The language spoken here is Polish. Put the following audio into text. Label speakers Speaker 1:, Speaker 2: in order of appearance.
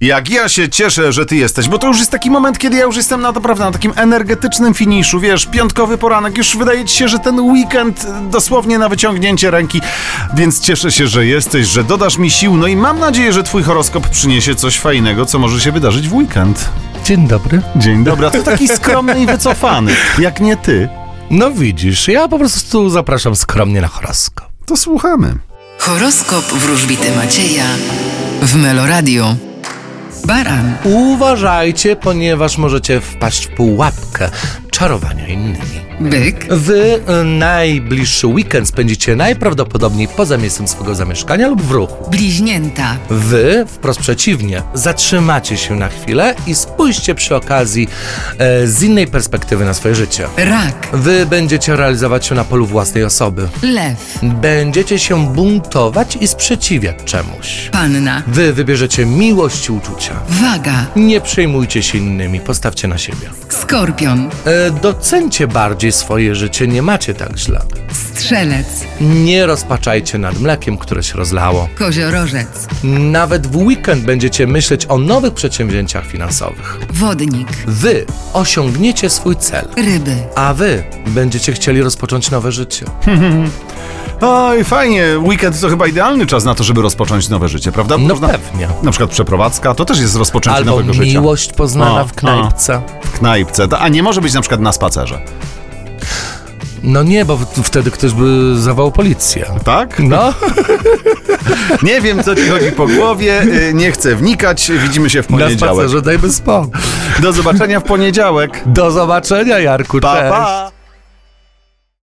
Speaker 1: Jak ja się cieszę, że ty jesteś, bo to już jest taki moment, kiedy ja już jestem na, naprawdę na takim energetycznym finiszu, wiesz, piątkowy poranek, już wydaje ci się, że ten weekend e, dosłownie na wyciągnięcie ręki, więc cieszę się, że jesteś, że dodasz mi sił, no i mam nadzieję, że twój horoskop przyniesie coś fajnego, co może się wydarzyć w weekend.
Speaker 2: Dzień dobry.
Speaker 1: Dzień dobry, a ty taki skromny i wycofany, jak nie ty,
Speaker 2: No widzisz, ja po prostu zapraszam skromnie na horoskop.
Speaker 1: to słuchamy.
Speaker 3: Horoskop wróżbity Macieja w Meloradio. Baran,
Speaker 2: Uważajcie, ponieważ możecie wpaść w pułapkę czarowania innymi.
Speaker 3: byk,
Speaker 2: Wy y, najbliższy weekend spędzicie najprawdopodobniej poza miejscem swego zamieszkania lub w ruchu.
Speaker 3: bliźnięta,
Speaker 2: Wy, wprost przeciwnie, zatrzymacie się na chwilę i spójrzcie przy okazji e, z innej perspektywy na swoje życie.
Speaker 3: rak,
Speaker 2: Wy będziecie realizować się na polu własnej osoby.
Speaker 3: lew,
Speaker 2: Będziecie się buntować i sprzeciwiać czemuś.
Speaker 3: panna,
Speaker 2: Wy wybierzecie miłość i uczucia.
Speaker 3: waga,
Speaker 2: Nie przejmujcie się innymi, postawcie na siebie.
Speaker 3: skorpion,
Speaker 2: E, docencie bardziej swoje życie, nie macie tak źle.
Speaker 3: strzelec,
Speaker 2: Nie rozpaczajcie nad mlekiem, które się rozlało.
Speaker 3: koziorożec,
Speaker 2: Nawet w weekend będziecie myśleć o nowych przedsięwzięciach finansowych.
Speaker 3: wodnik,
Speaker 2: Wy osiągniecie swój cel,
Speaker 3: ryby.
Speaker 2: a wy będziecie chcieli rozpocząć nowe życie.
Speaker 1: Oj, fajnie, weekend to chyba idealny czas na to, żeby rozpocząć nowe życie, prawda?
Speaker 2: No pewnie.
Speaker 1: Na przykład przeprowadzka, to też jest rozpoczęcie
Speaker 2: Albo
Speaker 1: nowego życia.
Speaker 2: miłość poznana
Speaker 1: O,
Speaker 2: w knajpce.
Speaker 1: w knajpce, to- a nie może być na przykład na spacerze,
Speaker 2: No nie, bo w- wtedy ktoś by zawołał policję.
Speaker 1: tak?
Speaker 2: No,
Speaker 1: Nie wiem, co ci chodzi po głowie, y, nie chcę wnikać, widzimy się w
Speaker 2: na
Speaker 1: poniedziałek.
Speaker 2: spacerze dajmy spokój.
Speaker 1: Do zobaczenia w poniedziałek.
Speaker 2: Do zobaczenia, Jarku.
Speaker 1: Pa,
Speaker 2: Cześć.
Speaker 1: pa!